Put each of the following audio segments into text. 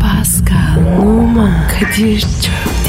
Pascal, Oman, Kadir çok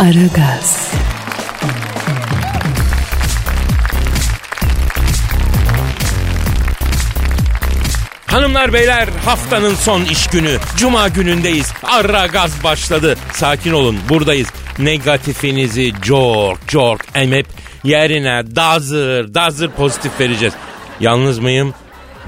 Aragaz, Hanımlar beyler haftanın son iş günü. Cuma günündeyiz. Arra gaz başladı. Sakin olun buradayız. Negatifinizi cork cork emip yerine dazır dazır pozitif vereceğiz. Yalnız mıyım?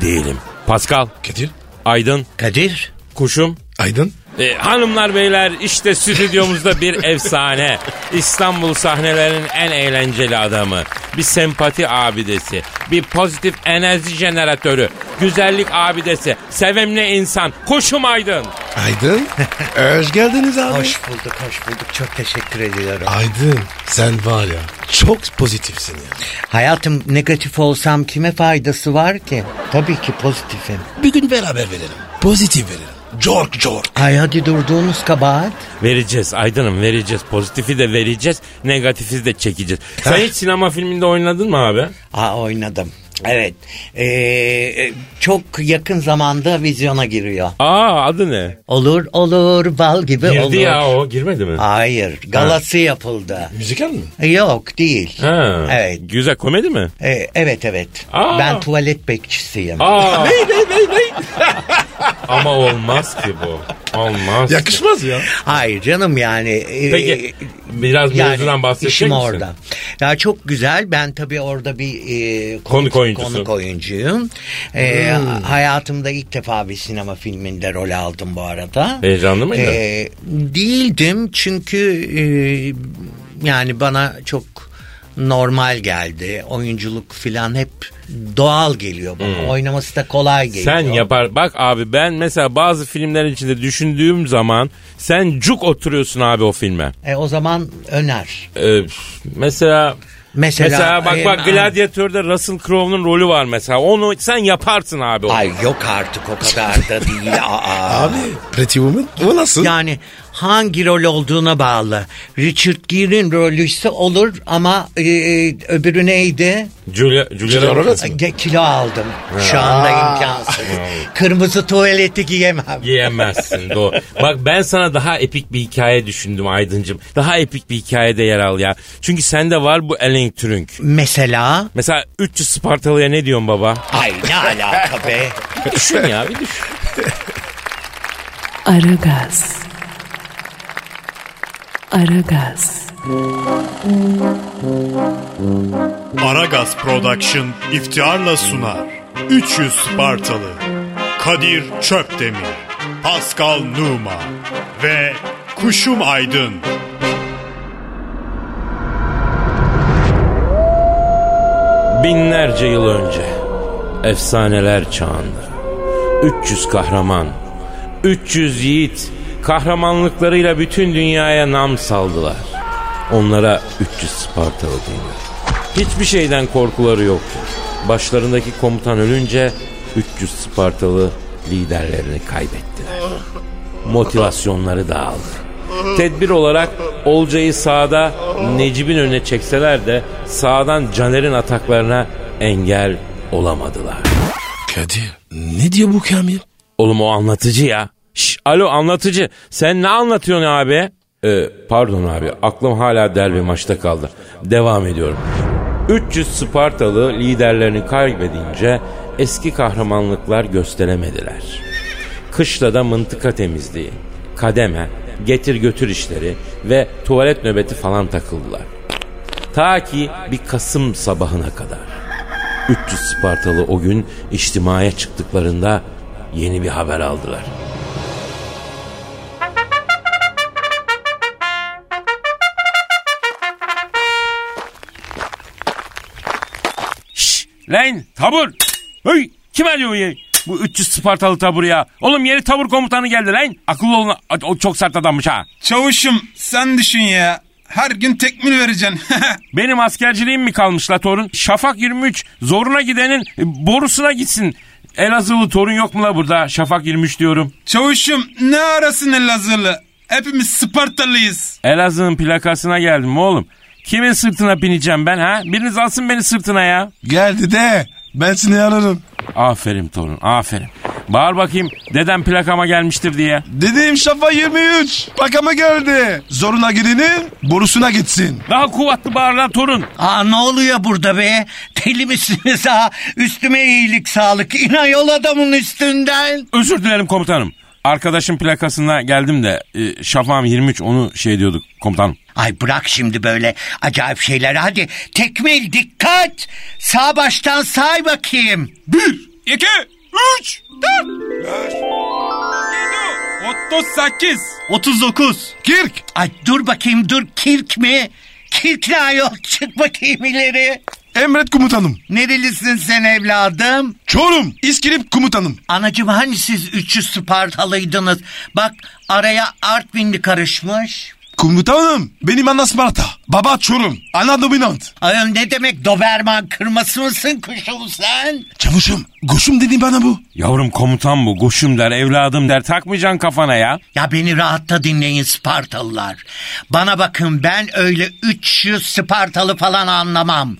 Değilim. Pascal, Kadir. Aydın, Kadir. Kuşum. Aydın. E, hanımlar beyler işte stüdyomuzda bir efsane. İstanbul sahnelerinin en eğlenceli adamı. Bir sempati abidesi. Bir pozitif enerji jeneratörü. Güzellik abidesi. Sevimli insan. Koşum aydın. Aydın. Hoş geldiniz abi. Hoş bulduk, hoş bulduk. Çok teşekkür ediyorum. Aydın. Sen var ya çok pozitifsin ya. Hayatım negatif olsam kime faydası var ki? Tabii ki pozitifim. Bir gün beraber verelim. Pozitif verelim. Cork cork. Ay hadi durduğunuz kabahat. Vereceğiz Aydın'ım vereceğiz. Pozitifi de vereceğiz. Negatifi de çekeceğiz. Sen Heh. hiç sinema filminde oynadın mı abi? Aa oynadım. Evet. Ee, çok yakın zamanda vizyona giriyor. Aa adı ne? Olur olur bal gibi olur. Girdi ya o girmedi mi? Hayır galası yapıldı. Müzikal mi? E, Yok değil. Ha. Evet. Güzel komedi mi? Ee, evet evet. Aa. Ben tuvalet bekçisiyim. Aa. Ama olmaz ki bu. Olmaz. Yakışmaz ya. Hayır canım yani. ee, Peki biraz Yani mevzudan bahsedecek işim misin? orada. Ya çok güzel. Ben tabii orada bir e, Konuk oyuncusu. Hmm. konuk oyuncuyum. E, Hayatımda ilk defa bir sinema filminde rol aldım bu arada. Heyecanlı mıydın? E, değildim çünkü e, yani bana çok normal geldi. Oyunculuk filan hep doğal geliyor bana. Oynaması da kolay geliyor. Hmm. Sen yapar. Bak abi ben mesela bazı filmlerin içinde düşündüğüm zaman sen cuk oturuyorsun abi o filme. E, o zaman öner. Ee, mesela Mesela, Mesela bak e, bak Gladiator'da Russell Crowe'nun rolü var mesela. Onu sen yaparsın abi. onu. Ay yok artık o kadar da değil. Aa. Abi Pretty Woman o nasıl? Yani hangi rol olduğuna bağlı. Richard Gere'in rolü ise olur ama e, e, öbürü neydi? Julia, Julia, Julia Roberts. Roberts mi? Ge- Kilo aldım. Şu anda imkansız. Kırmızı tuvaleti giyemem. Yiyemezsin doğru. Bak ben sana daha epik bir hikaye düşündüm Aydıncım. Daha epik bir hikayede yer al ya. Çünkü sende var bu Ellen Trünk. Mesela Mesela 300 Spartalı'ya ne diyorsun baba? ay ne alaka be. Bir düşün ya bir düşün. Aragaz. Aragaz, Aragaz Production iftiharla sunar. 300 Spartalı. Kadir Çöpdemir. Pascal Numa. Ve Kuşum Aydın. Binlerce yıl önce efsaneler çağında 300 kahraman, 300 yiğit kahramanlıklarıyla bütün dünyaya nam saldılar. Onlara 300 Spartalı denir. Hiçbir şeyden korkuları yoktu. Başlarındaki komutan ölünce 300 Spartalı liderlerini kaybettiler. Motivasyonları dağıldı. Tedbir olarak Olcay'ı sağda Necip'in önüne çekseler de sağdan Caner'in ataklarına engel olamadılar. Kadir. Ne diyor bu Kamil? Oğlum o anlatıcı ya. Şş, alo anlatıcı. Sen ne anlatıyorsun abi? Ee, pardon abi aklım hala derbi maçta kaldı. Devam ediyorum. 300 Spartalı liderlerini kaybedince eski kahramanlıklar gösteremediler. Kışlada mıntıka temizliği, kademe, getir götür işleri ve tuvalet nöbeti falan takıldılar. Ta ki bir Kasım sabahına kadar. 300 Spartalı o gün içtimaya çıktıklarında yeni bir haber aldılar. Şşş! Lan tabur! Hey! Kim arıyor ya? Bu 300 Spartalı taburuya. Oğlum yeni tabur komutanı geldi lan. Akıllı olun. O çok sert adammış ha. Çavuşum sen düşün ya. Her gün tekmil vereceksin. Benim askerciliğim mi kalmış la torun? Şafak 23 zoruna gidenin e, borusuna gitsin. Elazığlı torun yok mu la burada? Şafak 23 diyorum. Çavuşum ne arasın Elazığlı? Hepimiz Spartalıyız. Elazığ'ın plakasına geldim oğlum. Kimin sırtına bineceğim ben ha? Biriniz alsın beni sırtına ya. Geldi de ben seni alırım. Aferin torun aferin. Bağır bakayım dedem plakama gelmiştir diye. Dediğim şafa 23. Bakama geldi. Zoruna gidenin borusuna gitsin. Daha kuvvetli bağır lan torun. Aa ne oluyor burada be? Deli misiniz ha? Üstüme iyilik sağlık. İnan yol adamın üstünden. Özür dilerim komutanım. Arkadaşın plakasına geldim de e, Şafak'ım 23 onu şey diyorduk komutanım. Ay bırak şimdi böyle acayip şeyler. Hadi tekmil dikkat. Sağ baştan say bakayım. İki, üç, dört, beş, yedi, otuz sekiz. 39. Kirk. Ay dur bakayım dur kirk mi? Kirk ne ayol çık bakayım ileri. Emret komutanım. Nerelisin sen evladım? Çorum. İskilip komutanım. Anacığım hani siz 300 Spartalıydınız? Bak araya Artvinli karışmış. Komutanım. Benim ana Sparta. Baba Çorum. Ana dominant. Ayol ne demek Doberman kırması mısın kuşum sen? Çavuşum. Koşum dedi bana bu. Yavrum komutan bu goşum der evladım der takmayacaksın kafana ya. Ya beni rahatta dinleyin Spartalılar. Bana bakın ben öyle 300 Spartalı falan anlamam.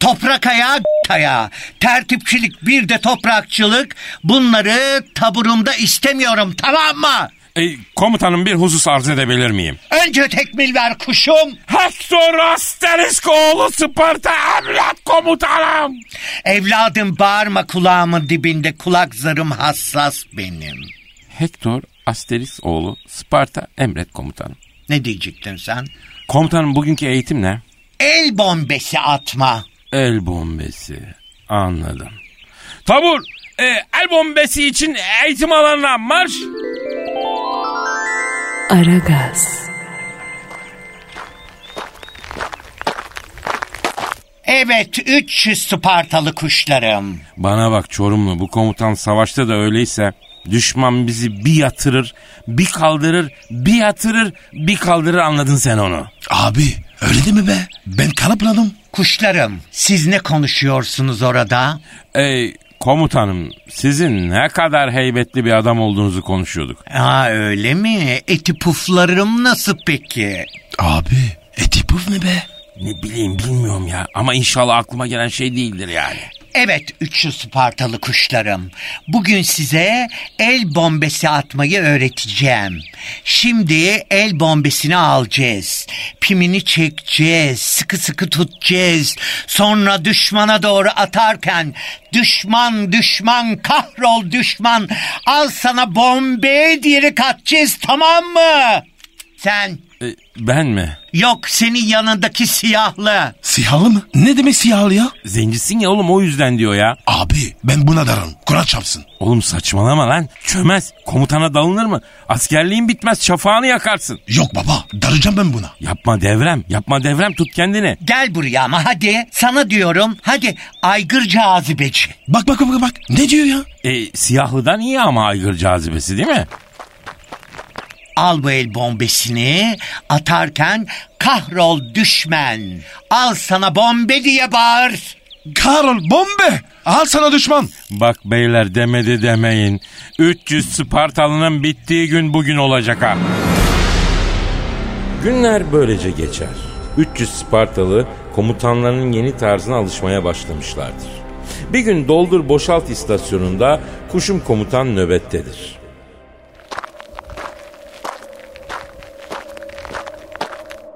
Toprak ayağı ayağı. Tertipçilik bir de toprakçılık. Bunları taburumda istemiyorum tamam mı? E, komutanım bir husus arz edebilir miyim? Önce tekmil ver kuşum. Hector Asterisk oğlu Sparta evlat komutanım. Evladım bağırma kulağımın dibinde kulak zarım hassas benim. Hector Asterisk oğlu Sparta emret komutanım. Ne diyecektin sen? Komutanım bugünkü eğitim ne? El bombesi atma. El bombesi. Anladım. Tabur e, el bombesi için eğitim alanına marş. Aragaz, Evet 300 Spartalı kuşlarım. Bana bak Çorumlu bu komutan savaşta da öyleyse düşman bizi bir yatırır, bir kaldırır, bir yatırır, bir kaldırır anladın sen onu. Abi öyle değil mi be? Ben kalıpladım. Kuşlarım siz ne konuşuyorsunuz orada? Ey komutanım sizin ne kadar heybetli bir adam olduğunuzu konuşuyorduk. Aa öyle mi? Eti puflarım nasıl peki? Abi eti puf ne be? Ne bileyim bilmiyorum ya ama inşallah aklıma gelen şey değildir yani. Evet 300 Spartalı kuşlarım. Bugün size el bombesi atmayı öğreteceğim. Şimdi el bombesini alacağız. Pimini çekeceğiz. Sıkı sıkı tutacağız. Sonra düşmana doğru atarken düşman düşman kahrol düşman al sana bombe diyerek atacağız tamam mı? Sen E, ben mi? yok senin yanındaki siyahlı. Siyahlı mı? Ne demek siyahlı ya? Zencisin ya oğlum o yüzden diyor ya. Abi ben buna darım. Kur'an çapsın. Oğlum saçmalama lan. Çömez. Komutana dalınır mı? Askerliğin bitmez. Şafağını yakarsın. Yok baba daracağım ben buna. Yapma devrem. Yapma devrem. Tut kendini. Gel buraya ama hadi. Sana diyorum. Hadi aygır cazibeci. Bak bak bak bak. Ne diyor ya? E, siyahlıdan iyi ama aygır cazibesi değil mi? Al bu el bombesini atarken kahrol düşmen. Al sana bombe diye bağır. Karol bombe. Al sana düşman. Bak beyler demedi demeyin. 300 Spartalı'nın bittiği gün bugün olacak ha. Günler böylece geçer. 300 Spartalı komutanlarının yeni tarzına alışmaya başlamışlardır. Bir gün doldur boşalt istasyonunda kuşum komutan nöbettedir.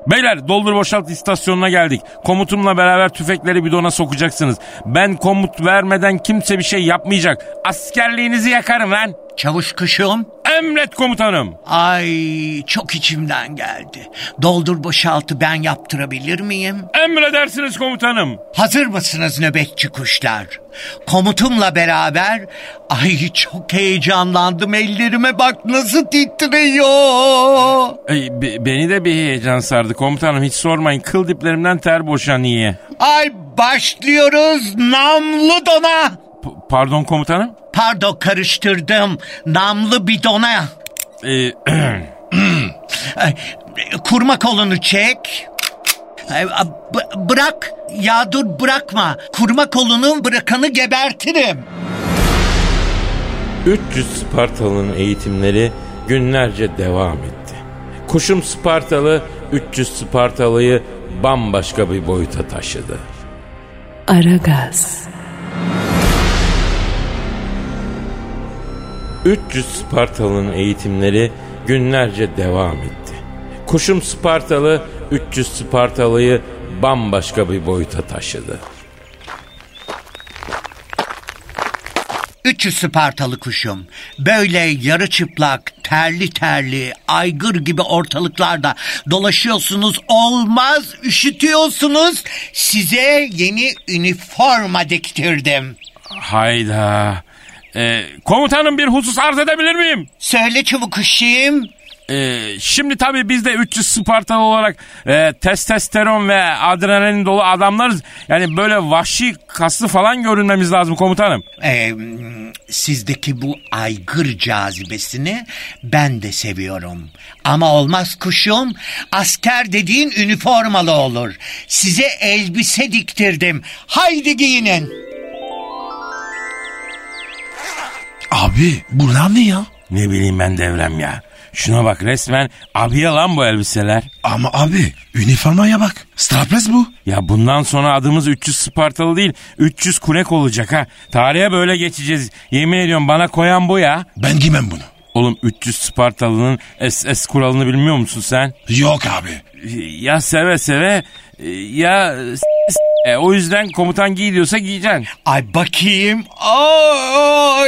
Beyler doldur boşalt istasyonuna geldik. Komutumla beraber tüfekleri bidona sokacaksınız. Ben komut vermeden kimse bir şey yapmayacak. Askerliğinizi yakarım lan. Çavuş kuşum. Emret komutanım. Ay çok içimden geldi. Doldur boşaltı ben yaptırabilir miyim? Emredersiniz komutanım. Hazır mısınız nöbetçi kuşlar? Komutumla beraber ay çok heyecanlandım ellerime bak nasıl titriyor. Ay, be- beni de bir heyecan sardı komutanım. Hiç sormayın. Kıl diplerimden ter boşanıyor. Ay başlıyoruz namlu dona. P- pardon komutanım. Pardon karıştırdım. Namlı bidona. Ee, Ay, Kurma kolunu çek. Ay, a- b- Bırak. Ya dur bırakma. Kurma kolunu bırakanı gebertirim. 300 Spartalı'nın eğitimleri günlerce devam etti. Kuşum Spartalı 300 Spartalı'yı bambaşka bir boyuta taşıdı. Aragaz, 300 Spartalı'nın eğitimleri günlerce devam etti. Kuşum Spartalı 300 Spartalı'yı bambaşka bir boyuta taşıdı. 300 Spartalı kuşum. Böyle yarı çıplak, terli terli, aygır gibi ortalıklarda dolaşıyorsunuz. Olmaz, üşütüyorsunuz. Size yeni üniforma diktirdim. Hayda. Ee, komutanım bir husus arz edebilir miyim? Söyle çabuk kuşum. Ee, şimdi tabii biz de 300 Spartalı olarak e, testosteron ve adrenalin dolu adamlarız. Yani böyle vahşi kaslı falan görünmemiz lazım komutanım. Ee, sizdeki bu aygır cazibesini ben de seviyorum. Ama olmaz kuşum. Asker dediğin üniformalı olur. Size elbise diktirdim. Haydi giyinin. Abi bunlar ne ya? Ne bileyim ben devrem ya. Şuna bak resmen abiye lan bu elbiseler. Ama abi üniformaya bak. Strapless bu. Ya bundan sonra adımız 300 Spartalı değil 300 Kunek olacak ha. Tarihe böyle geçeceğiz. Yemin ediyorum bana koyan bu ya. Ben giymem bunu. Oğlum 300 Spartalı'nın SS kuralını bilmiyor musun sen? Yok abi. Ya seve seve ya s- s- e, o yüzden komutan giy diyorsa giyeceksin. Ay bakayım.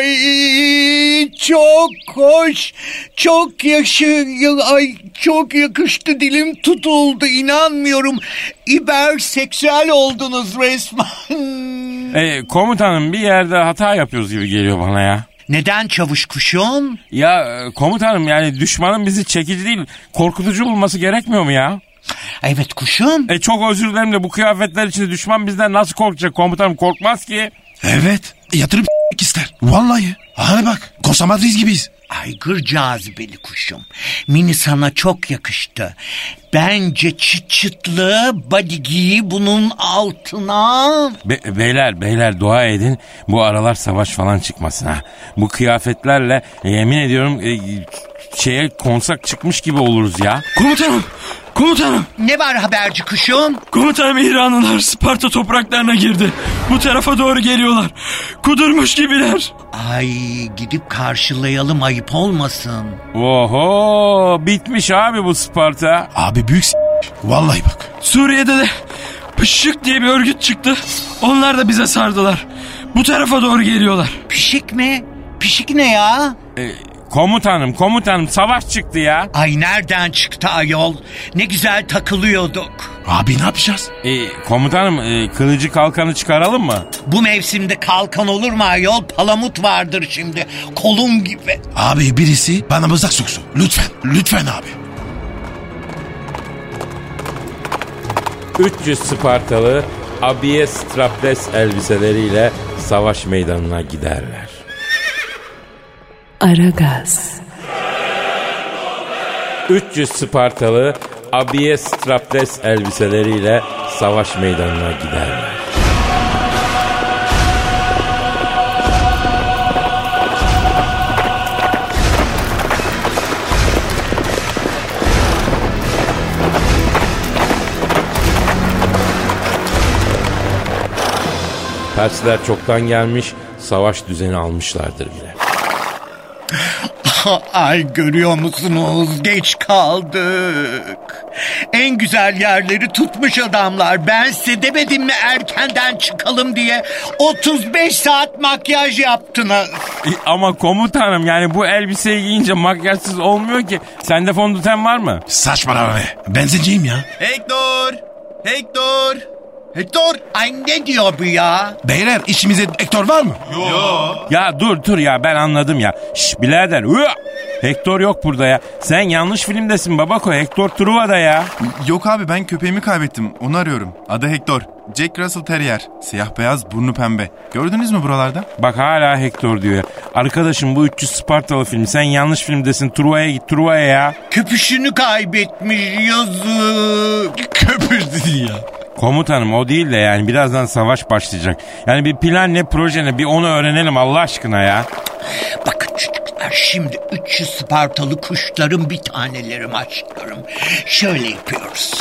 Ay çok hoş. Çok yaşı ay çok yakıştı dilim tutuldu inanmıyorum. İberseksüel oldunuz resmen. E, komutanım bir yerde hata yapıyoruz gibi geliyor bana ya. Neden çavuş kuşum? Ya e, komutanım yani düşmanın bizi çekici değil korkutucu bulması gerekmiyor mu ya? Evet kuşum. E çok özür dilerim de bu kıyafetler içinde düşman bizden nasıl korkacak komutanım korkmaz ki. Evet. Yatırıp ister. Vallahi. Hani bak. Kosa Madrid gibiyiz. Aygır cazibeli kuşum. Mini sana çok yakıştı. Bence çıt çıtlı body giy bunun altına. Be- beyler beyler dua edin bu aralar savaş falan çıkmasın ha. Bu kıyafetlerle e, yemin ediyorum e, şeye konsak çıkmış gibi oluruz ya. Komutanım, komutanım, Ne var haberci kuşum? komutanım İranlılar Sparta topraklarına girdi. Bu tarafa doğru geliyorlar. Kudurmuş gibiler. Ay gidip karşılayalım ayıp olmasın. Oho bitmiş abi bu Sparta. Abi büyük s- Vallahi bak. Suriye'de de Pışık diye bir örgüt çıktı. Onlar da bize sardılar. Bu tarafa doğru geliyorlar. Pişik mi? Pişik ne ya? E, komutanım komutanım savaş çıktı ya. Ay nereden çıktı ayol? Ne güzel takılıyorduk. Abi ne yapacağız? E, komutanım e, kılıcı kalkanı çıkaralım mı? Bu mevsimde kalkan olur mu ayol? Palamut vardır şimdi. Kolun gibi. Abi birisi bana mızrak soksun. Lütfen. Lütfen abi. 300 Spartalı abiye strapless elbiseleriyle savaş meydanına giderler. Aragaz, 300 Spartalı abiye strapless elbiseleriyle savaş meydanına giderler. Persler çoktan gelmiş, savaş düzeni almışlardır bile. Ay görüyor musunuz? Geç kaldık. En güzel yerleri tutmuş adamlar. Ben size demedim mi erkenden çıkalım diye 35 saat makyaj yaptınız. E, Ama komutanım yani bu elbiseyi giyince makyajsız olmuyor ki. Sende fondöten var mı? Saçmalama be. Benzinciyim ya. Hector! Hector! Hector! Ay ne diyor bu ya? Beyler içimize Hector var mı? Ya dur dur ya ben anladım ya. Şş birader. Hua! Hector yok burada ya. Sen yanlış filmdesin babako. Hector Truva'da ya. Yok abi ben köpeğimi kaybettim. Onu arıyorum. Adı Hector. Jack Russell Terrier. Siyah beyaz, burnu pembe. Gördünüz mü buralarda? Bak hala Hector diyor ya. Arkadaşım bu 300 Spartalı film. Sen yanlış filmdesin. Truva'ya git Truva'ya ya. Köpüşünü kaybetmiş yazık. Köpürdü ya. Komutanım o değil de yani birazdan savaş başlayacak. Yani bir plan ne proje ne bir onu öğrenelim Allah aşkına ya. Bakın çocuklar şimdi 300 Spartalı kuşlarım bir tanelerim aşklarım. Şöyle yapıyoruz.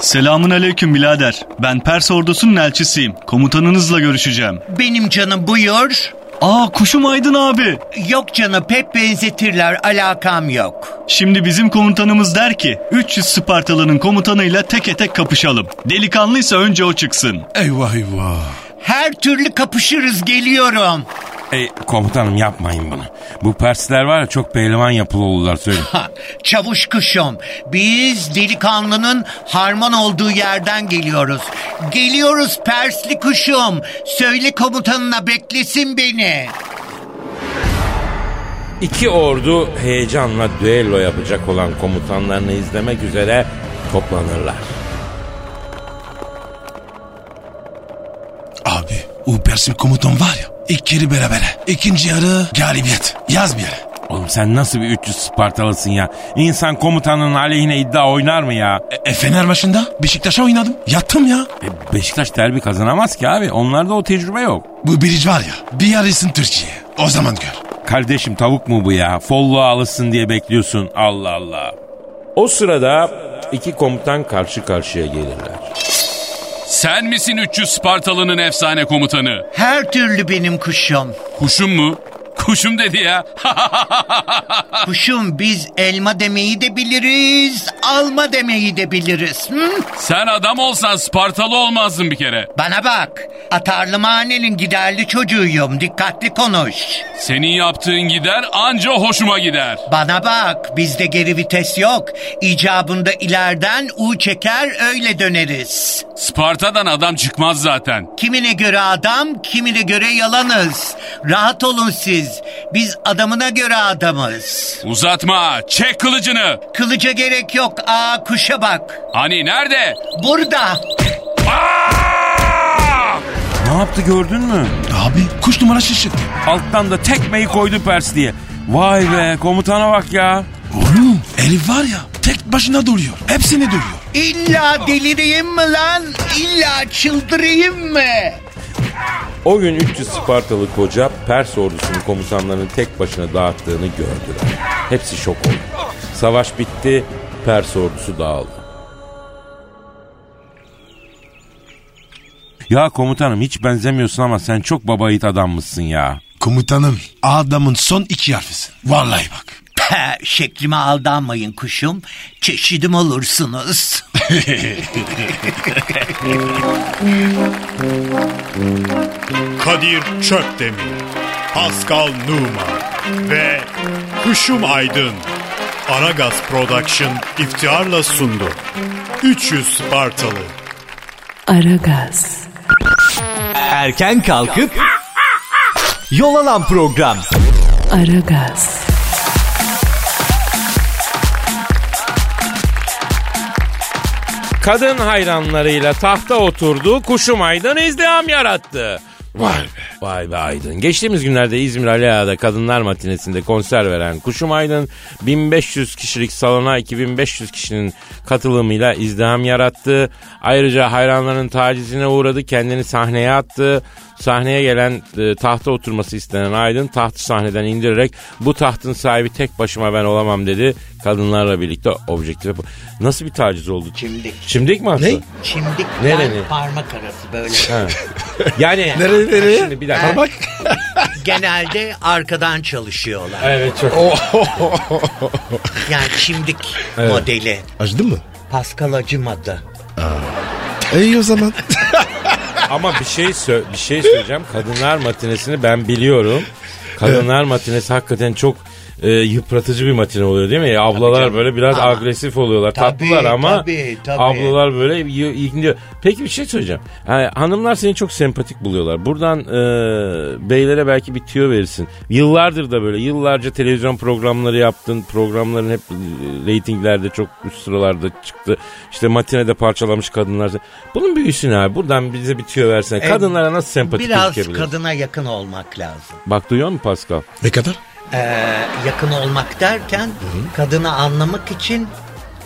Selamun aleyküm birader. Ben Pers ordusunun elçisiyim. Komutanınızla görüşeceğim. Benim canım buyur. Aa kuşum Aydın abi. Yok canım pek benzetirler alakam yok. Şimdi bizim komutanımız der ki 300 Spartalı'nın komutanıyla teke tek kapışalım. Delikanlıysa önce o çıksın. Eyvah eyvah. Her türlü kapışırız geliyorum. E, komutanım yapmayın bunu. Bu Persler var ya çok pehlivan yapılı oldular söyleyeyim. Ha, çavuş kuşum biz delikanlının harman olduğu yerden geliyoruz. Geliyoruz Persli kuşum. Söyle komutanına beklesin beni. İki ordu heyecanla düello yapacak olan komutanlarını izlemek üzere toplanırlar. Abi o Persil komutan var ya. İlk yarı berabere. İkinci yarı galibiyet. Yaz bir yere. Oğlum sen nasıl bir 300 Spartalısın ya? İnsan komutanın aleyhine iddia oynar mı ya? E, Fener maçında Beşiktaş'a oynadım. Yattım ya. E, Beşiktaş derbi kazanamaz ki abi. Onlarda o tecrübe yok. Bu biric var ya. Bir yarısın Türkiye. O zaman gör. Kardeşim tavuk mu bu ya? Folluğa alışsın diye bekliyorsun. Allah Allah. O sırada iki komutan karşı karşıya gelirler. Sen misin 300 Spartalı'nın efsane komutanı? Her türlü benim kuşum. Kuşum mu? Kuşum dedi ya. Kuşum biz elma demeyi de biliriz, alma demeyi de biliriz. Hı? Sen adam olsan Spartalı olmazdın bir kere. Bana bak, atarlı mahallenin giderli çocuğuyum, dikkatli konuş. Senin yaptığın gider anca hoşuma gider. Bana bak, bizde geri vites yok. İcabında ileriden U çeker öyle döneriz. Sparta'dan adam çıkmaz zaten. Kimine göre adam, kimine göre yalanız. Rahat olun siz, biz adamına göre adamız. Uzatma, çek kılıcını. Kılıca gerek yok, aa kuşa bak. Hani nerede? Burada, Ne yaptı gördün mü? Abi kuş numara şaşırttı. Alttan da tekmeyi koydu Pers diye. Vay be komutana bak ya. Oğlum Elif var ya. Tek başına doluyor. Hepsini doluyor. İlla delireyim mi lan? İlla çıldırayım mı? O gün 300 Spartalı koca Pers ordusunun komutanlarının tek başına dağıttığını gördüler. Hepsi şok oldu. Savaş bitti, Pers ordusu dağıldı. Ya komutanım hiç benzemiyorsun ama sen çok baba yiğit adammışsın ya. Komutanım adamın son iki harfisin. Vallahi bak. He, şeklime aldanmayın kuşum. Çeşidim olursunuz. Kadir Çöptemir, Pascal Numa ve Kuşum Aydın. Aragaz Production iftiharla sundu. 300 Spartalı. Aragaz. Erken kalkıp yol alan program. Aragaz. Kadın hayranlarıyla tahta oturdu, kuşum Aydın izdiham yarattı. Vay be. Vay be Aydın. Geçtiğimiz günlerde İzmir Ali Ağa'da Kadınlar Matinesinde konser veren Kuşum Aydın 1500 kişilik salona 2500 kişinin katılımıyla izdiham yarattı. Ayrıca hayranların tacizine uğradı. Kendini sahneye attı. Sahneye gelen e, tahta oturması istenen Aydın tahtı sahneden indirerek bu tahtın sahibi tek başıma ben olamam dedi. Kadınlarla birlikte objektife... Nasıl bir taciz oldu? Çimdik. Çimdik mi attı? Ne? Çimdik Nereni? ben parmak arası böyle. Yani... Nereye nereye? Şimdi bir dakika. Bak. Genelde arkadan çalışıyorlar. Evet çok. Oh. Yani çimdik modeli. Acıdı mı? Pascal acımadı. İyi o zaman. Ama bir şey sö- bir şey söyleyeceğim. Kadınlar matinesini ben biliyorum. Kadınlar matinesi hakikaten çok e, yıpratıcı bir matine oluyor değil mi? Ya ablalar böyle biraz Ama- agresif oluyorlar. Tabii, Tatlılar ama tabii, tabii. ablalar böyle y- yıkınıyor. Peki bir şey söyleyeceğim. Ha, hanımlar seni çok sempatik buluyorlar. Buradan e, beylere belki bir tüyo verirsin. Yıllardır da böyle yıllarca televizyon programları yaptın. Programların hep e, reytinglerde çok üst sıralarda çıktı. İşte matinede parçalamış kadınlar. Bunun büyüsü ne abi? Buradan bize bir tüyo versene. E, Kadınlara nasıl sempatik Biraz gözükebiliriz? kadına yakın olmak lazım. Bak duyuyor musun Pascal? Ne kadar? Ee, yakın olmak derken kadını anlamak için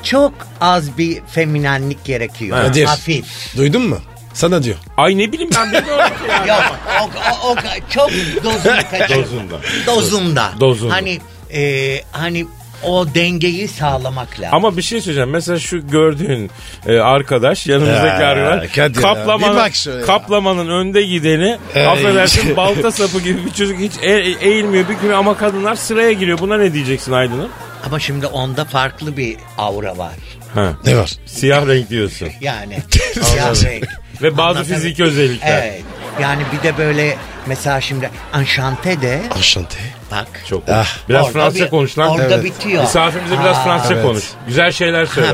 çok az bir feminenlik gerekiyor. Kadir. Hafif. Duydun mu? Sana diyor. Ay ne bileyim ben bilmiyorum ki ya. Yok, o, o, o, çok dozunu kaçır. Dozunda. Dozunda. Dozunda. Hani e, hani o dengeyi sağlamak lazım. Ama bir şey söyleyeceğim. Mesela şu gördüğün e, arkadaş yanımızdaki Ya, arkadaş Kadir ya, kaplamanın, bir bak şöyle ya. kaplamanın önde gideni Ey. affedersin balta sapı gibi bir çocuk hiç e- e- eğilmiyor bükmüyor ama kadınlar sıraya giriyor. Buna ne diyeceksin Aydın'ın? Ama şimdi onda farklı bir aura var. Ha. Ne var? Siyah renk diyorsun. Yani siyah renk. Ve bazı Anlatabiliyor fiziki özellikler. Evet. Yani bir de böyle mesela şimdi Anşante de Aşante. bak. Çok. Ah. biraz Orada Fransızca bir- konuş lan. orada bitiyor. Misafirimize biraz Aa. Fransızca Evet. konuş. Güzel şeyler söyle.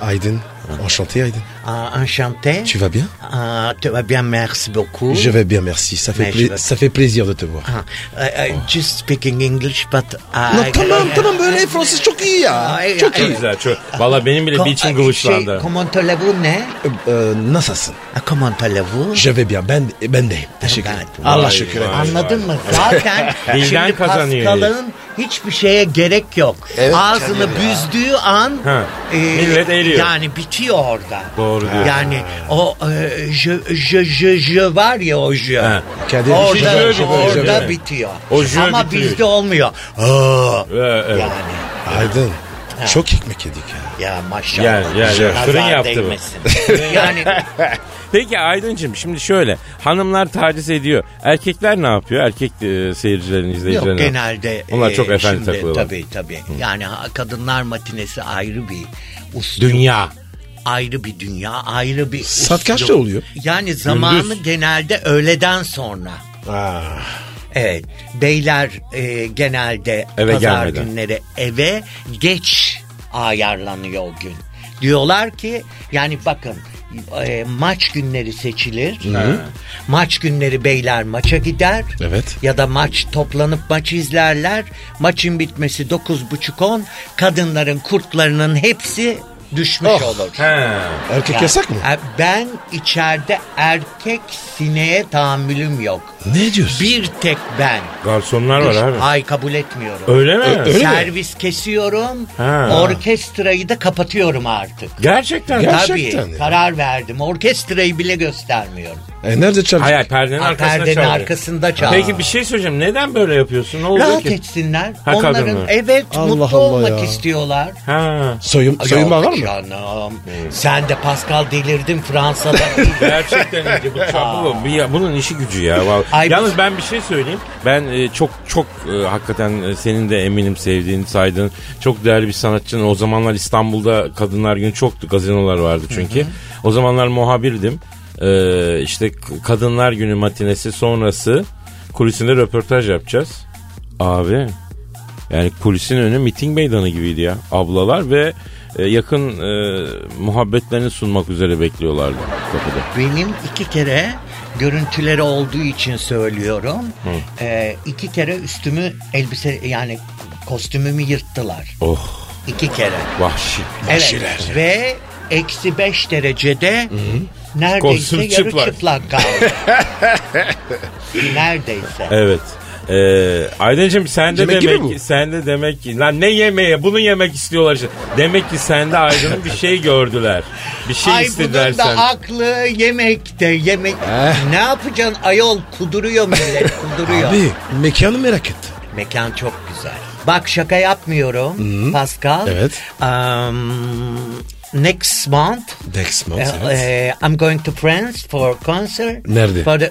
Aydın. Enchanté Aydın. Anşante. Tu vas bien? Ah, tu vas bien merci beaucoup. Je vais Ah. bien, merci. Ça fait, Mais pla- je vais- ça fait plaisir de te voir. Ha, I- Oh. I euh, just speaking English but I... Lan tamam tamam böyle Fransız çok iyi ya. Ay, çok ay, iyi. Güzel. Çok. Valla benim bile bir içim Şey, kıvışlandı. komentole bu ne? Ee, nasılsın? Ah, Komentole bu. Je vais bien. Ben, ben deyim. Teşekkür Ben- ederim. Allah Vay, şükür. vay. Anladın mı? Zaten Dilden şimdi kazanıyor Pascal'ın hiçbir şeye gerek yok. Ağzını büzdüğü an e, Ha, millet eriyor. Yani bitiyor orada. Doğru diyorsun. Yani o e, je, je, je, je var ya o je. Ha. Kadir, orada je, je, je, şey orada je. bitiyor. O je Ama bitiriyor. bizde olmuyor. Aa, Ee, evet. Yani Aydın. Çok ekmek yedik ya. ya maşallah. Gel, gel, gel. Nazar Fırın yaptı bu. değmesin. yani Peki Aydıncığım şimdi şöyle hanımlar taciz ediyor. Erkekler ne yapıyor? Erkek e, seyircilerin izleyicilerin. Yok genelde. Onlar e, çok efendi şimdi takılıyorlar. Tabii tabii. Yani ha- kadınlar matinesi ayrı bir usul. Dünya. Ayrı bir dünya, ayrı bir Saat uslu. kaçta oluyor? Yani zamanı genelde öğleden sonra. Evet. Beyler e, genelde Eve pazar gelmeden. günleri eve geç ayarlanıyor o gün. Diyorlar ki yani bakın e, maç günleri seçilir. E, Maç günleri beyler maça gider. Evet. Ya da maç toplanıp maçı izlerler. Maçın bitmesi 9.30-10. Kadınların kurtlarının hepsi düşmüş Oh. olur. Erkek Ya, yasak mı? e, Ben içeride erkek sineğe tahammülüm yok. Ne diyorsun? Bir tek ben. Garsonlar var abi. Ay kabul etmiyorum. Öyle mi? Ö- öyle mi? Servis kesiyorum. Ha. Orkestrayı da kapatıyorum artık. Gerçekten. Ger- Hayır Gerçekten Tabii ya. karar verdim. Orkestrayı bile göstermiyorum. E, nerede çalış? Hayır perdenin Ha, arkasında perdenin çalıyor. arkasında çalıyor. Peki bir şey söyleyeceğim. Neden böyle yapıyorsun? Ne oluyor Rahat ki? etsinler. Ha, Onların kadınlar. evet Allah mutlu Allah olmak ya. istiyorlar. Ha. Soyun, soyunma Yok var mı? Canım. Hmm. Sen de Pascal delirdin Fransa'da. Gerçekten ince bu çapı bu. Ya Bunun işi gücü ya. vallahi. Ay, Yalnız ben bir şey söyleyeyim. Ben e, çok çok e, hakikaten e, senin de eminim sevdiğin, saydığın çok değerli bir sanatçının o zamanlar İstanbul'da Kadınlar Günü çoktu. Gazinolar vardı çünkü. O zamanlar muhabirdim. E, işte K- Kadınlar Günü matinesi sonrası kulisinde röportaj yapacağız. Abi yani kulisin önü miting meydanı gibiydi ya. Ablalar ve e, yakın e, muhabbetlerini sunmak üzere bekliyorlardı kapıda. Benim iki kere görüntüleri olduğu için söylüyorum. Ee, iki kere üstümü elbise yani kostümümü yırttılar. Oh İki kere. vahşi. Evet. Ve eksi beş derecede neredeyse Kostüm yarı çıplak. çıplak, kaldı. neredeyse. Evet. Ee, Aydıncığım sen de Yemek gibi demek bu. ki sen de demek ki lan ne yemeğe bunu yemek istiyorlar işte. Demek ki sende Aydın'ın bir şey gördüler. Bir şey Ay istediler bunun da sen. aklı yemekte yemek. ne yapacaksın ayol kuduruyor millet kuduruyor. Abi mekanı merak ettim. Mekan çok güzel. Bak şaka yapmıyorum Pascal. Evet. Um, next month Next month. uh, evet. uh, I'm going to France for concert. Nerede? For the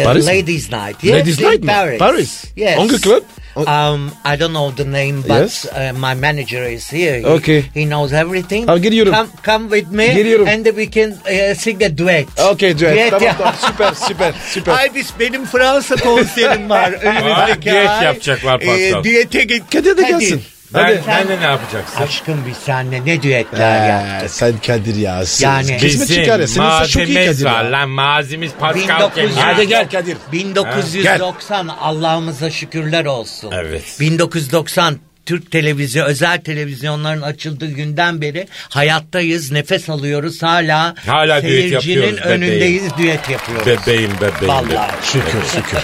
uh, Paris mi? ladies night. Ladies in night mi? Paris. Paris. Yes. Hangi club? Um, I don't know the name, but Yes. uh, my manager is here. He, Okay. He knows everything. Al, geliyorum. Come, come with me Geliyorum. and we can uh, sing a duet. Okey Cüneyt. ya. Tamam, tamam, süper süper süper. Ay biz benim Fransa konserim var önümüzdeki Düet ay. yapacaklar Eh, e, Pascal. düete git. Kadir de Hadi. gelsin. Ben, Hadi. ben de ne yapacaksın? Aşkım biz seninle ne Eh. düetler yaptık. Ee, sen Kadir ya. Yani- Yani kesme çıkar ya. Senin sen çok iyi Kadir. malzememiz var ya. lan mazimiz Pascal 1900 Hadi gel. Kadir. 1990 Allah'ımıza şükürler olsun. Evet. 1990 Türk televizyon, özel televizyonların açıldığı günden beri hayattayız, nefes alıyoruz hala. Hala düet seyircinin yapıyoruz bebeğim. önündeyiz, düet yapıyoruz. Bebeğim bebeğim. Vallahi. Şükür şükür.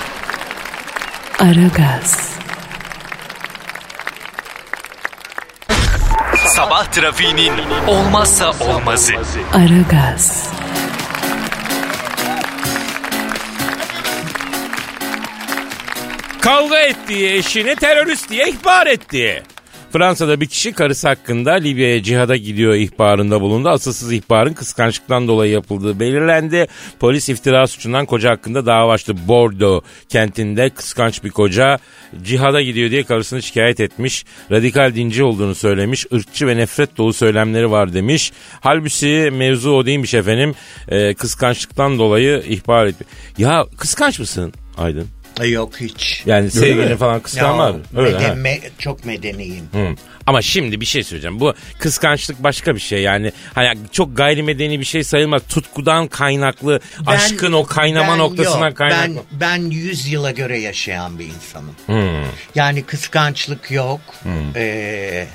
Aragaz, Sabah trafiğinin olmazsa olmazı. Aragaz, Kavga ettiği eşini terörist diye ihbar etti. Fransa'da bir kişi karısı hakkında Libya'ya cihada gidiyor ihbarında bulundu. Asılsız ihbarın kıskançlıktan dolayı yapıldığı belirlendi. Polis iftira suçundan koca hakkında dava açtı. Bordeaux kentinde kıskanç bir koca cihada gidiyor diye karısını şikayet etmiş. Radikal dinci olduğunu söylemiş. ırkçı ve nefret dolu söylemleri var demiş. Halbuki mevzu o değilmiş efendim. Ee, kıskançlıktan dolayı ihbar etti. Ya kıskanç mısın Aydın? Ay Yok hiç. Yani sevgilini mi? falan kıskanma Ya, abi. Öyle meden- ha. me- çok medeniyim. Hı. Ama şimdi bir şey söyleyeceğim. Bu kıskançlık başka bir şey yani. Hani çok gayrimedeni bir şey sayılmaz. Tutkudan kaynaklı, Ben- aşkın o kaynama ben noktasından yok, kaynaklı. Ben, ben 100 yıla göre yaşayan bir insanım. Hı. Yani kıskançlık yok. Hmm. Ee,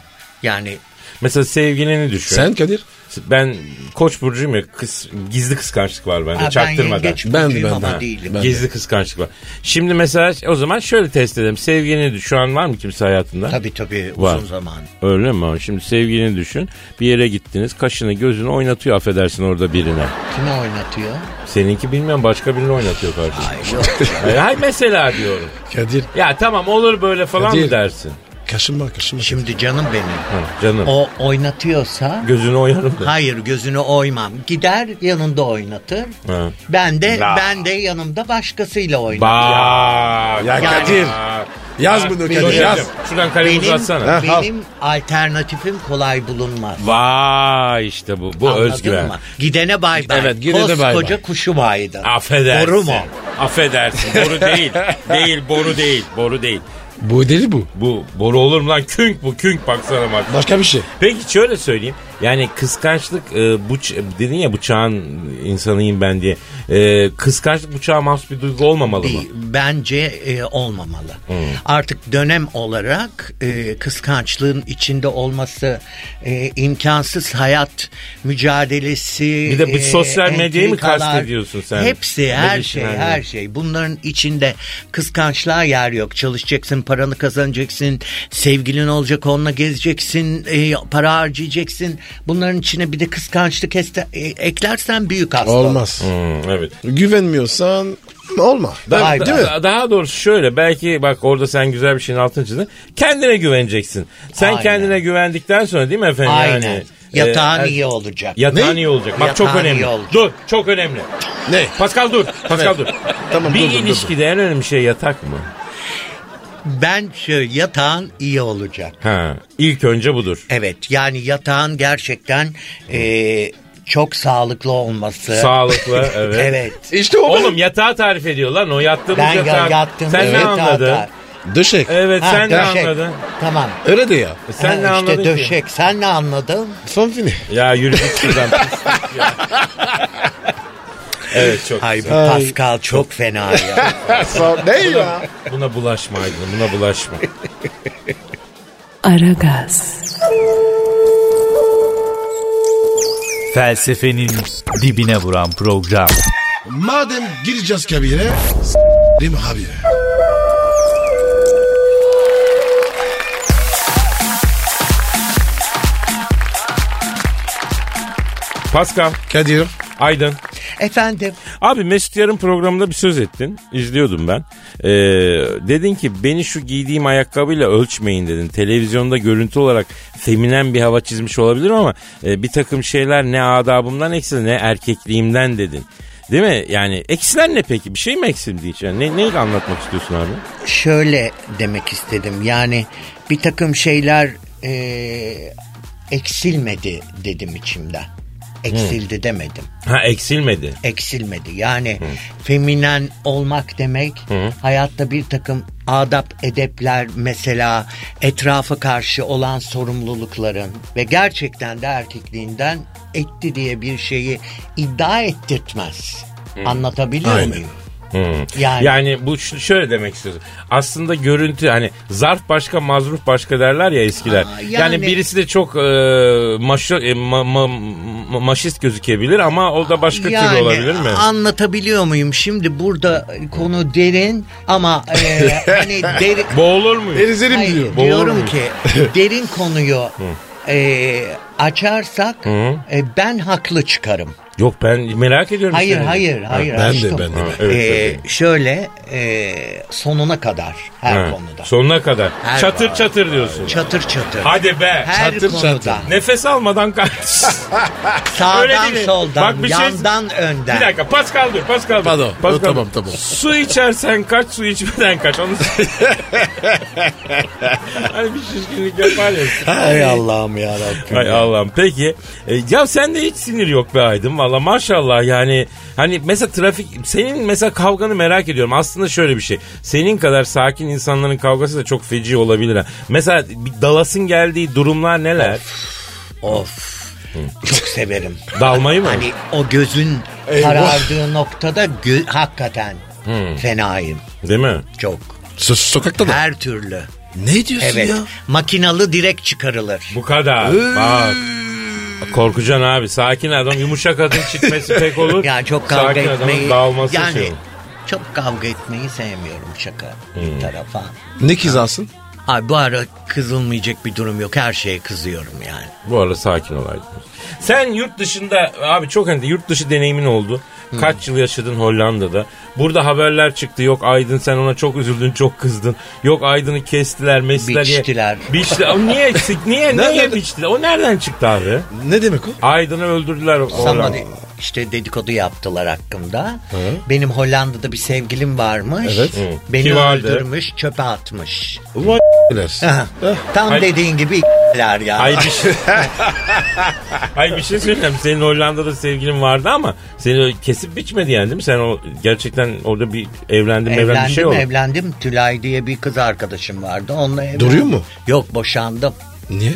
yani Mesela sevgilini düşün. Sen Kadir? Ben koç burcuyum ya kıs- gizli kıskançlık var bende Aa, ben çaktırmadan. yengeç Ben de, burcuyum ben de. ama Ha, değilim. Ben de. Gizli kıskançlık var. Şimdi mesela o zaman şöyle test edelim. Sevgilini düşün. Şu an var mı kimse hayatında? Tabii tabii uzun Var. zaman. Öyle mi? Şimdi sevgilini düşün. Bir yere gittiniz. Kaşını gözünü oynatıyor affedersin orada birine. Kime oynatıyor? Seninki bilmiyorum başka birini oynatıyor kardeşim. Hayır, mesela diyorum. Kadir. Ya tamam olur böyle falan Kadir. mı dersin? Kaşınma kaşınma. Şimdi canım benim. canım. O oynatıyorsa... Gözünü oynarım da. Hayır gözünü oymam. Gider yanında oynatır. Ha. Ben de La. ben de yanımda başkasıyla oynarım. Bak. Ya Kadir, yaz Bak, bunu bir Kadir, şey yaz. yapacağım. Şuradan kalemi benim, uzatsana. Benim alternatifim kolay bulunmaz. Vay işte bu. Bu Anladın özgüven. mı? Gidene bay bay. Evet, gidene bay bay. Koskoca kuşu baydı. Affedersin. Boru mu? Affedersin. Boru değil. değil boru değil. Boru değil. Bu deli bu. Bu boru olur mu lan? Künk bu künk baksana bak. Başka bir şey. Peki şöyle söyleyeyim. Yani kıskançlık e, bu ç- dedin ya bu çağın insanıyım ben diye. E, kıskançlık bu çağa mahsus bir duygu olmamalı Değil. mı? Hmm. Bence e, olmamalı. Artık dönem olarak e, kıskançlığın içinde olması e, imkansız hayat mücadelesi. Bir de bu e, sosyal medyayı mı entrikalar, kastediyorsun sen? Hepsi Ne her diyorsun şey yani? her şey. Bunların içinde kıskançlığa yer yok. Çalışacaksın paranı kazanacaksın. Sevgilin olacak onunla gezeceksin. e, para harcayacaksın. Bunların içine bir de kıskançlık este- e, eklersen büyük hasta. Olmaz. Hmm, evet. Güvenmiyorsan olma. Da- E, Hayır, da- değil mi? Daha doğrusu şöyle belki bak orada sen güzel bir şeyin altını çizdin. Kendine güveneceksin. Sen Aynen. kendine güvendikten sonra değil mi efendim? Aynen. Yani, Yatağın e, iyi olacak. Yatağın Ne? iyi olacak. Bak çok Yatağın iyi önemli. olacak. Dur çok önemli. Ne? Pascal dur. Pascal dur. Tamam, bir durdum, durdum. ilişkide en önemli şey yatak mı? Ben şöyle yatağın iyi olacak. Ha, ilk önce budur. Evet yani yatağın gerçekten e, çok sağlıklı olması. Sağlıklı evet. evet. İşte o Oğlum yatağı tarif ediyor lan o yattığımız Ben ya- yatağı. yattığımız sen ne yatağı anladın? tarif- Döşek. Evet Ha, sen ne döşek. anladın? Tamam. Öyle de ya. E, Sen Ha, ne anladın işte ki? döşek. Sen ne anladın? Son fini. Ya yürü git şuradan. pislik ya. evet çok Ay bu güzel. Pascal çok fena ya. Son- ne ya? Buna bulaşma Aydın buna bulaşma. Aragaz, Felsefenin dibine vuran program. Madem gireceğiz kabire. S***im habire. Pascal. Kadir. Aydın. Efendim Abi Mesut Yarın programında bir söz ettin. İzliyordum ben. Ee, dedin ki beni şu giydiğim ayakkabıyla ölçmeyin dedin. Televizyonda görüntü olarak feminen bir hava çizmiş olabilirim ama e, bir takım şeyler ne adabımdan eksiz ne erkekliğimden dedin. Değil mi? Yani eksilen ne peki? Bir şey mi eksildi hiç? Yani ne, neyi anlatmak istiyorsun abi? Şöyle demek istedim yani bir takım şeyler e, eksilmedi dedim içimden. Eksildi demedim. Ha eksilmedi. Eksilmedi yani feminen olmak demek Hı. hayatta bir takım adap edepler mesela etrafa karşı olan sorumlulukların ve gerçekten de erkekliğinden etti diye bir şeyi iddia ettirtmez. Hı. Anlatabiliyor Aynen. muyum? Yani, Yani- bu ş- şöyle demek istiyorsun. Aslında görüntü hani zarf başka mazruf başka derler ya eskiler. yani, yani- birisi de çok e, maşo- e, ma- ma- ma- maşist gözükebilir ama o da başka türlü olabilir mi? Anlatabiliyor muyum? Şimdi burada konu derin ama e, hani derin... Boğulur muyuz? Erizelim Hayır, diyor. Boğulur Diyorum muyuz? ki derin konuyu e, açarsak Hı. e, ben haklı çıkarım. Yok ben merak ediyorum. Hayır seni. hayır şey Ha, hayır. açtım. Ha, evet, E, evet. şöyle e, sonuna kadar her Ha, konuda. Sonuna kadar. Her çatır konuda. çatır diyorsun. Çatır çatır. Hadi be. Her konuda. Nefes almadan kay. Öyle Sağdan değil mi? soldan Bak bir şey- yandan önden. Bir dakika Pascal dur Pascal dur. Pardon. Pascal O tamam, tamam. Su içersen kaç su içmeden kaç. Onu... hani bir şişkinlik yapar ya. Hay Allah'ım ya Rabbim. Hay Allah'ım peki. E, ya sende hiç sinir yok be Aydın valla maşallah yani. Hani mesela trafik senin mesela kavganı merak ediyorum. Aslında şöyle bir şey. Senin kadar sakin insanların kavgası da çok feci olabilir. ha. Mesela bir dalasın geldiği durumlar neler? Of. Çok severim. Dalmayı mı? Hani o gözün Eyvah. karardığı noktada gö- hakikaten Hmm. fenayım. Değil mi? Çok. sokakta Her türlü. Ne diyorsun evet. ya? Makinalı direkt çıkarılır. Bu kadar. Bak. Korkucan abi sakin adam yumuşak adın çıkması pek olur. Yani çok kavga sakin adamın etmeyi. dağılması yani şey olur. çok kavga etmeyi sevmiyorum şaka Hmm. bir tarafa. Ne kızarsın? Abi bu ara kızılmayacak bir durum yok. Her şeye kızıyorum yani. Bu arada sakin ol Aydın. Sen yurt dışında abi çok önemli yurt dışı deneyimin oldu. Hmm. Kaç yıl yaşadın Hollanda'da. Burada haberler çıktı. Yok Aydın sen ona çok üzüldün, çok kızdın. Yok Aydın'ı kestiler, mestiler. ye- Biçtiler. Biçti- O niye eksik? Niye? niye Nereden- biçtiler? O nereden çıktı abi? Ne demek o? Aydın'ı öldürdüler. Hollanda. Somebody işte dedikodu yaptılar hakkımda. Benim Hollanda'da bir sevgilim varmış. Evet. Hı. Beni Kim vardı? öldürmüş, çöpe atmış. Ulan Aha. Eh. Tam Ay- dediğin gibi ***ler ya. Ay bir şey, Ay bir şey söyleyeyim. Senin Hollanda'da sevgilin vardı ama seni öyle kesip biçmedi yani değil mi? Sen o gerçekten orada bir evlendin, evlendin bir evlendim şey oldu. evlendim. Tülay diye bir kız arkadaşım vardı. Onunla evlendim. Duruyor mu? Yok boşandım. Niye?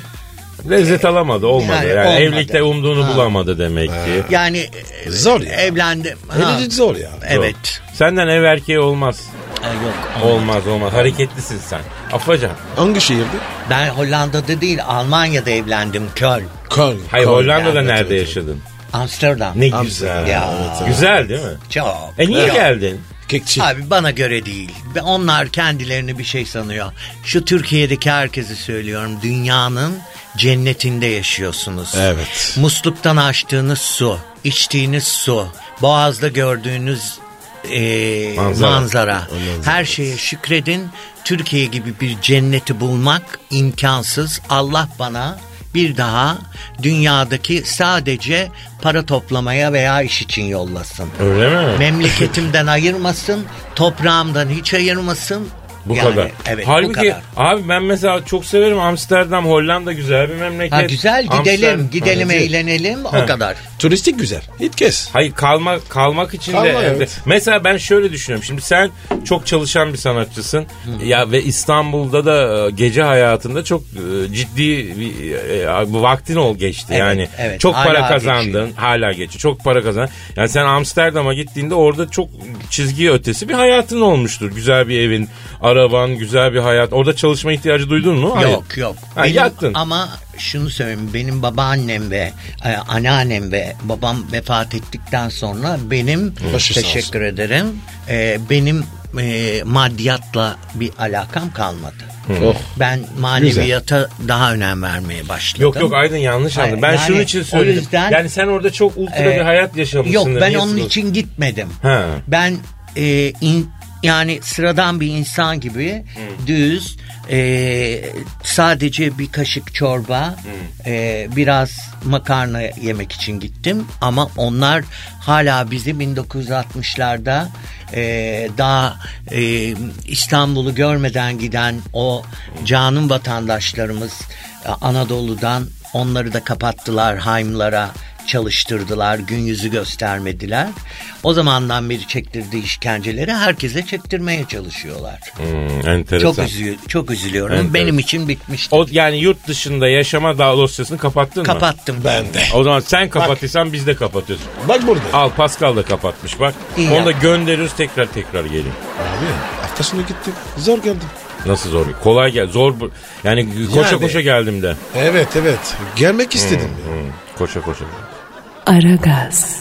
Lezzet alamadı, olmadı. Yani, Yani olmadı. evlilikte umduğunu bulamadı demek ki. Yani e, Zor ya. evlendim. Ha, Evlilik zor ya. Evet. Senden ev erkeği olmaz. E, yok. Olmaz olmaz. Hareketlisin sen. Afacan. Hangi şehirde? Ben Hollanda'da değil Almanya'da evlendim. Köln. Köln. Hayır Köln. Hollanda'da evet, nerede evet. yaşadın? Amsterdam. Ne güzel. Ya. Güzel değil mi? Çok. E niye Çok. geldin? Kekçi. Abi bana göre değil. Ve Onlar kendilerini bir şey sanıyor. Şu Türkiye'deki herkesi söylüyorum. Dünyanın cennetinde yaşıyorsunuz. Evet. Musluktan açtığınız su, içtiğiniz su, boğazda gördüğünüz e, Manzara. manzara. Her şeye şükredin. Türkiye gibi bir cenneti bulmak imkansız. Allah bana bir daha dünyadaki sadece para toplamaya veya iş için yollasın. Öyle mi? Memleketimden ayırmasın, toprağımdan hiç ayırmasın. Bu Yani, kadar. Evet Halbuki bu kadar. abi ben mesela çok severim Amsterdam, Hollanda güzel bir memleket. Ha, güzel gidelim, Amsterdam- gidelim Ha, evet. eğlenelim Ha. o kadar. Turistik güzel. Git kes. Hayır kalma kalmak için de Kalmak, evde. evet. Mesela ben şöyle düşünüyorum. Şimdi sen çok çalışan bir sanatçısın. Ya ve İstanbul'da da e, gece hayatında çok e, ciddi bir e, e, vaktin ol geçti. Evet, yani evet. çok para Hala kazandın. geçiyor. Hala geçiyor. Çok para kazandın. Yani sen Amsterdam'a gittiğinde orada çok çizgi ötesi bir hayatın olmuştur. Güzel bir evin, araban, güzel bir hayat. Orada çalışma ihtiyacı duydun mu? Hayır. Yok yok. Ha, Benim- yattın. Ama şunu söyleyeyim benim babaannem ve e, anneannem ve babam vefat ettikten sonra benim Başı sağ teşekkür ederim. e, benim e, maddiyatla bir alakam kalmadı. Oh. Ben maneviyata daha önem vermeye başladım. Yok yok Aydın yanlış Hayır, anladın. Ben yani şunun için o söyledim. yüzden- yani sen orada çok ultra Ee, bir hayat yaşamışsın. Yok ben onun için gitmedim. Ha. Ben e, in- Yani sıradan bir insan gibi düz, e, sadece bir kaşık çorba, e, biraz makarna yemek için gittim. Ama onlar hala bizi 1960'larda e, daha e, İstanbul'u görmeden giden o canım vatandaşlarımız e, Anadolu'dan onları da kapattılar Haymlara çalıştırdılar, gün yüzü göstermediler. O zamandan beri çektirdiği işkenceleri herkese çektirmeye çalışıyorlar. Hmm, enteresan. Çok üzü- çok üzülüyorum. Enteresan. Benim için bitmişti. O yani yurt dışında yaşama daha dosyasını kapattın mı? Kapattım. Ben de. O zaman sen kapattıysan biz de kapatıyoruz. Bak burada. Al Pascal da kapatmış bak. İyi Onu da yap. gönderiyoruz tekrar tekrar gelin. Abi hafta sonu gittim. Zor geldim. Nasıl zor? Kolay gel. Zor. bu- Yani koşa Yani. koşa geldim de. Evet evet. Gelmek istedim. Hmm, hmm. Koşa koşa. Aragaz,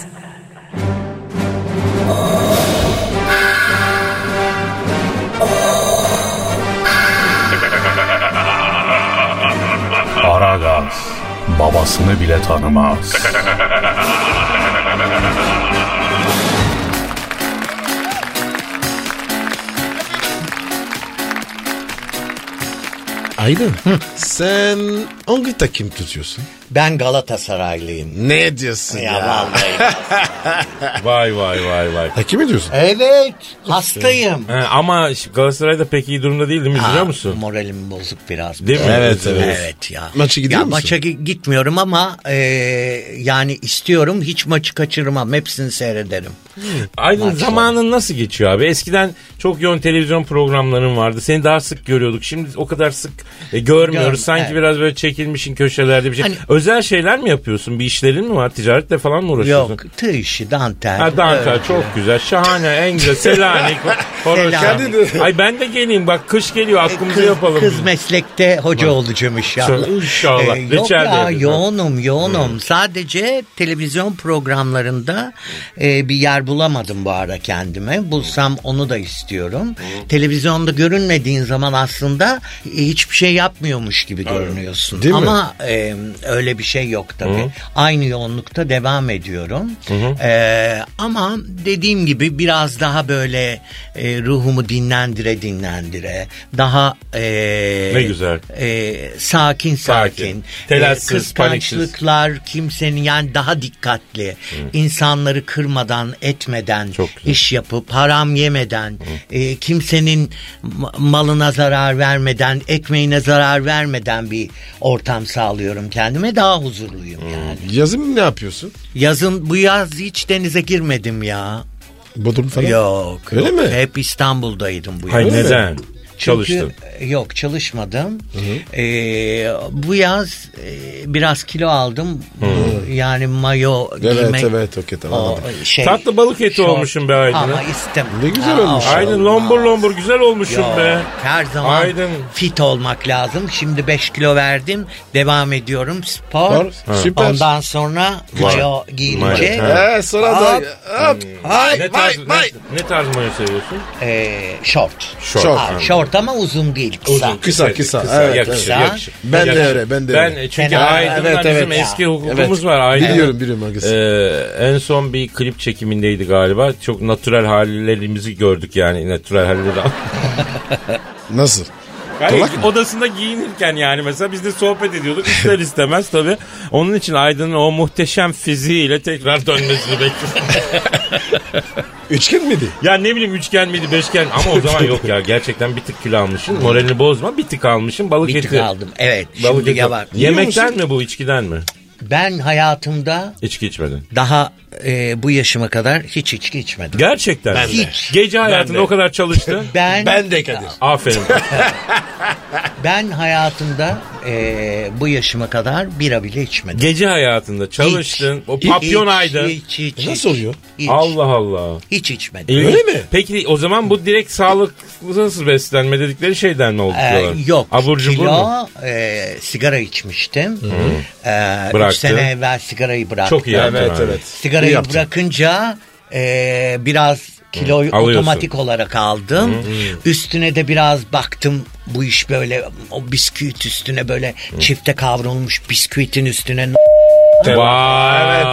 Aragaz babasını bile tanımaz. Aydın. Sen hangi takım tutuyorsun? Ben Galatasaraylıyım. Ne diyorsun ya? Ya vallahi. vay vay vay vay. Takip ediyorsun. evet. Hastayım. He, ama şimdi Galatasaray da pek iyi durumda değil değil mi? Üzülüyor Ha, musun? Moralim bozuk biraz. Değil mi? Evet, Üzülüyorsun. evet. ya. ya Maça gi- gitmiyorum ama e, yani istiyorum hiç maçı kaçırmam. Hepsini seyrederim. Aydın Maç zamanın nasıl geçiyor abi? Eskiden çok yoğun televizyon programların vardı. Seni daha sık görüyorduk. Şimdi o kadar sık e, görmüyoruz. Gör- Sanki evet. biraz böyle çekilmişin köşelerde bir şey. Hani- Özel şeyler mi yapıyorsun? Bir işlerin mi var? Ticaretle falan mı uğraşıyorsun? Yok tığ işi dantel. Ha Dantel Öyle. çok güzel. Şahane, en güzel. Selanik. Horoz. Selanik. E, Ay ben de geleyim bak kış geliyor aklımızı yapalım. Kız meslekte hoca Bak. olacağım inşallah. Şöyle inşallah. Ee, yok Reçel de ya yapayım. yoğunum yoğunum. Sadece televizyon programlarında e, bir yer bulamadım bu ara kendime. Bulsam onu da istiyorum. Televizyonda görünmediğin zaman aslında e, hiçbir şey yapmıyormuş gibi görünüyorsun. Değil mi? Ama e, öyle bir şey yok tabii. Hı. Aynı yoğunlukta devam ediyorum. Hı hı. Ee, ama dediğim gibi biraz daha böyle e, ruhumu dinlendire dinlendire daha e, Ne güzel. e, sakin sakin, Telaşsız, E, kıskançlıklar kimsenin yani daha dikkatli insanları kırmadan etmeden iş yapıp haram yemeden e, kimsenin ma- malına zarar vermeden ekmeğine zarar vermeden bir ortam sağlıyorum kendime daha huzurluyum yani. Yazın ne yapıyorsun? Yazın bu yaz hiç denize girmedim ya. Bodrum falan. Yok. Öyle yok. mi? Hep İstanbul'daydım bu yaz. Hayır, neden? Çünkü- Çalıştın. Yok çalışmadım. Ee, bu yaz e, biraz kilo aldım. Bu- Yani mayo Evet giymek. evet okey tamam. o anladım. şey- Tatlı balık eti şort. olmuşum be Aydın. Ama istem. Ne güzel olmuş. Aydın lombur lombur güzel olmuşum Yok, be. Her zaman Aydın. fit olmak lazım. Şimdi 5 kilo verdim. Devam ediyorum. Spor. Spor, Ha. süper. Ondan sonra Vay. mayo Vay, giyilince. ha. Ee, sonra da- hop, Ay, ne, vay, tarz, ne- vay. Ne, tarz mayo seviyorsun? Ee, short. Short. Aa, short ama uzun değil. Kısa. Uzun, kısa, kısa. Kısa, Evet, yakışır, evet. yakışır. Ben de Yakışır. öyle, ben de Ben öyle. e, çünkü Fena. Aydın'la Evet, bizim evet. eski hukukumuz Evet. var. Aydın. Biliyorum, biliyorum arkadaşlar. Ee, en son bir klip çekimindeydi galiba. Çok natürel hallerimizi gördük yani. Natürel halleri. Nasıl? Yani Dolak mı? odasında giyinirken yani mesela biz de sohbet ediyorduk ister istemez tabii. Onun için Aydın'ın o muhteşem fiziğiyle tekrar dönmesini bekliyorum. Üçgen miydi? ya ne bileyim üçgen miydi beşgen ama o zaman yok ya gerçekten bir tık kilo almışsın moralini bozma bir tık almışsın balık Bir eti. tık aldım, evet. Balık Şimdi eti. ya bak. Yemekten Biliyor musun? mi bu içkiden mi? Ben hayatımda İçki içmedin. daha e, bu yaşıma kadar hiç içki içmedim. Gerçekten Ben mi? de. Gece hayatında Ben de. o kadar çalıştın. Ben- Ben de Kadir. Aferin. Ben hayatımda e, bu yaşıma kadar bira bile içmedim. Gece hayatında çalıştın. o papyon hiç, aydın. hiç, hiç, hiç. Nasıl oluyor? Hiç. Allah Allah. Hiç içmedim. İlginç. Peki o zaman bu direkt sağlıklı nasıl beslenme dedikleri şeyden mi oldu? Ee, diyorlar? yok. Abur cubur mu? kilo, e, sigara içmiştim. Ee, üç Bıraktın. sene evvel sigarayı bıraktım. Çok iyi yaptın Evet, abi. evet. İyi Sigarayı yaptın. bırakınca e, biraz kiloyu Alıyorsun. otomatik olarak aldım. Üstüne de biraz baktım bu iş böyle o bisküvit üstüne böyle çifte kavrulmuş bisküvitin üstüne Vay. Evet.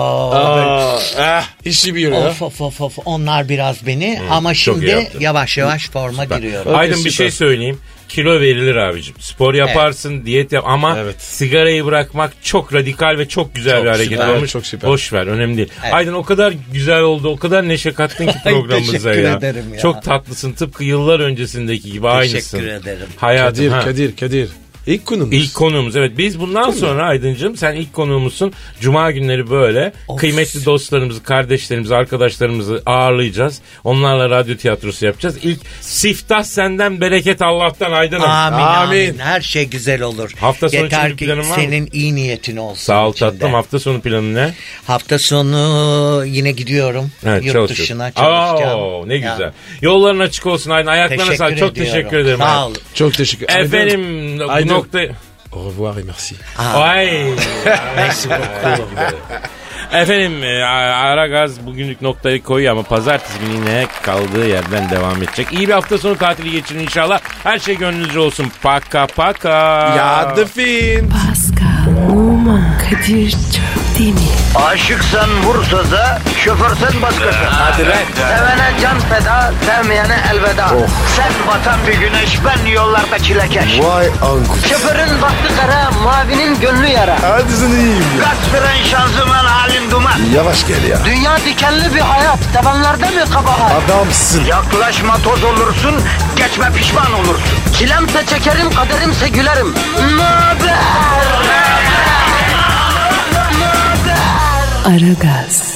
Aa, ah. İşi bir ya. Of of of of. Onlar biraz beni Hı, ama çok iyi şimdi yaptın. yavaş yavaş forma giriyorum. Aydın bir şey söyleyeyim. Kilo verilir abicim. Spor yaparsın, diyet yap ama sigarayı bırakmak çok radikal ve çok güzel Çok bir hareket süper, olmuş. çok süper. Boş ver, önemli değil. Evet. Aydın o kadar güzel oldu, o kadar neşe kattın ki Ay, programımıza teşekkür ya. ederim ya. Çok tatlısın. Tıpkı yıllar öncesindeki gibi aynısın. ederim. Hayatım, Kadir, ha. Kadir, Kadir. İlk konumuz. İlk konuğumuz evet. Biz bundan sonra Aydıncığım sen ilk konuğumuzsun. Cuma günleri böyle kıymetli dostlarımızı, kardeşlerimizi, arkadaşlarımızı ağırlayacağız. Onlarla radyo tiyatrosu yapacağız. İlk siftah senden bereket Allah'tan Aydın'ım. Amin, amin Her şey güzel olur. Hafta sonu için Yeter bir ki planın var mı? senin iyi niyetin olsun. Sağ ol içinde. tatlım. Hafta sonu planı ne? Hafta sonu yine gidiyorum. Evet, Yurt çalışıyorsun. dışına çalışacağım. Oo, ne Ya. güzel. Yolların açık olsun Aydın. Ayaklarına Teşekkür sağlık. Çok ediyorum. teşekkür ederim. Sağ Aydın. ol. Çok teşekkür ederim. Efendim bu Aydın. nokta... Au revoir et merci. Ay. Merci beaucoup. Efendim e, Aragaz bugünlük noktayı koyuyor ama pazartesi günü yine kaldığı yerden devam edecek. İyi bir hafta sonu tatili geçirin inşallah. Her şey gönlünüzce olsun. Paka paka. Ya the fin. Pascal, Oman, Kadir çok değil mi? Aşıksan vursa da, şoförsen başkasın. Ee, Hadi lan. Sevene can feda, sevmeyene elveda. Oh. Sen batan bir güneş, ben yollarda çilekeş. Vay anku. Şoförün baktı kara, mavinin gönlü yara. Hadi sen iyiyim ya. Kasperen şanzıman halin duman. Yavaş gel ya. Dünya dikenli bir hayat, sevenlerde mi kabahar? Adamsın. Yaklaşma toz olursun, geçme pişman olursun. Çilemse çekerim, kaderimse gülerim. Möber! Aragaz.